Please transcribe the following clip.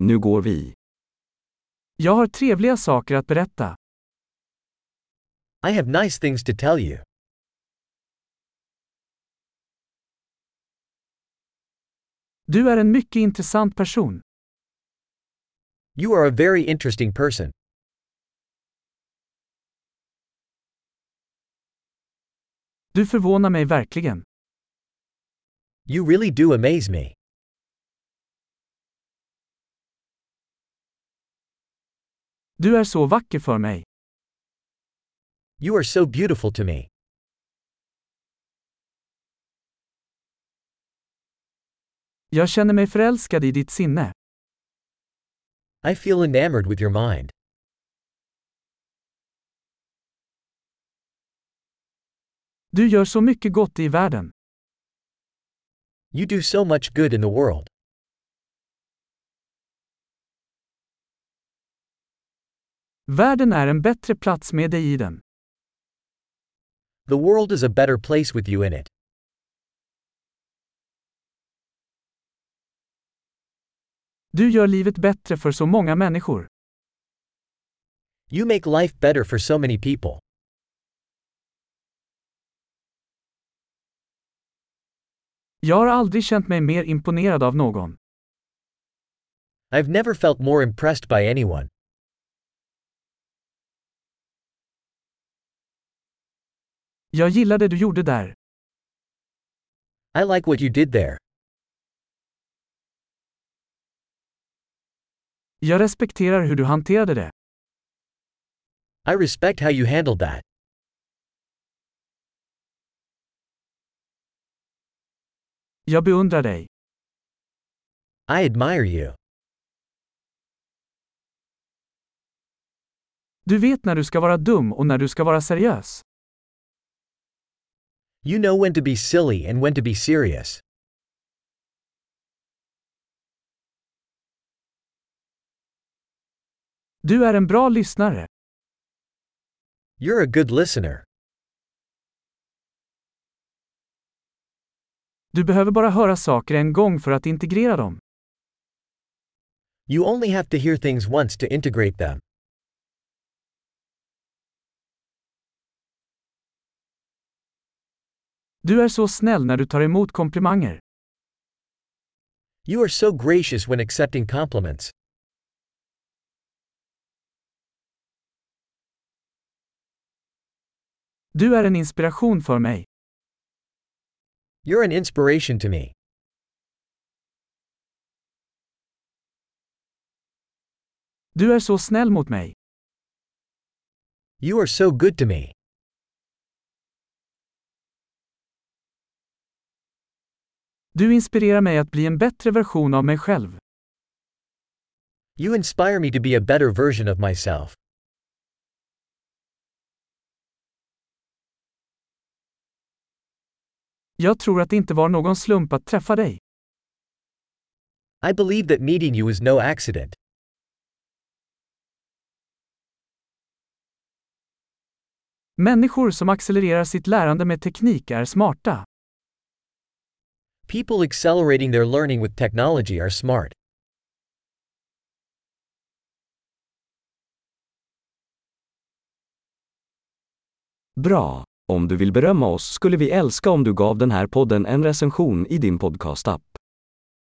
Nu går vi. Jag har trevliga saker att berätta. I have nice things to tell you. Du är en mycket intressant person. You are a very interesting person. Du förvånar mig verkligen. You really do amaze me. Du är så vacker för mig. You are so beautiful to me. Jag känner mig förälskad i ditt sinne. I feel enamored with your mind. Du gör så mycket gott i världen. You do so much good in the world. Världen är en bättre plats med dig i den. The world is a better place with you in it. Du gör livet bättre för så många människor. You make life better for so many people. Jag har aldrig känt mig mer imponerad av någon. I've never felt more impressed by anyone. Jag gillar det du gjorde där. I like what you did there. Jag respekterar hur du hanterade det. I respect how you handled that. Jag beundrar dig. I admire you. Du vet när du ska vara dum och när du ska vara seriös. You know when to be silly and when to be serious. Du är en bra lyssnare. You're a good listener. Du behöver bara höra saker en gång för att integrera dem. You only have to hear things once to integrate them. Du är så snäll när du tar emot komplimanger. You are so gracious when accepting compliments. Du är en inspiration för mig. You're an inspiration to me. Du är så snäll mot mig. You are so good to me. Du inspirerar mig att bli en bättre version av mig själv. You inspire me to be a better version of myself. Jag tror att det inte var någon slump att träffa dig. I believe that meeting you is no accident. Människor som accelererar sitt lärande med teknik är smarta. People accelerating their learning with technology are smart. Bra! Om du vill berömma oss skulle vi älska om du gav den här podden en recension i din podcastapp.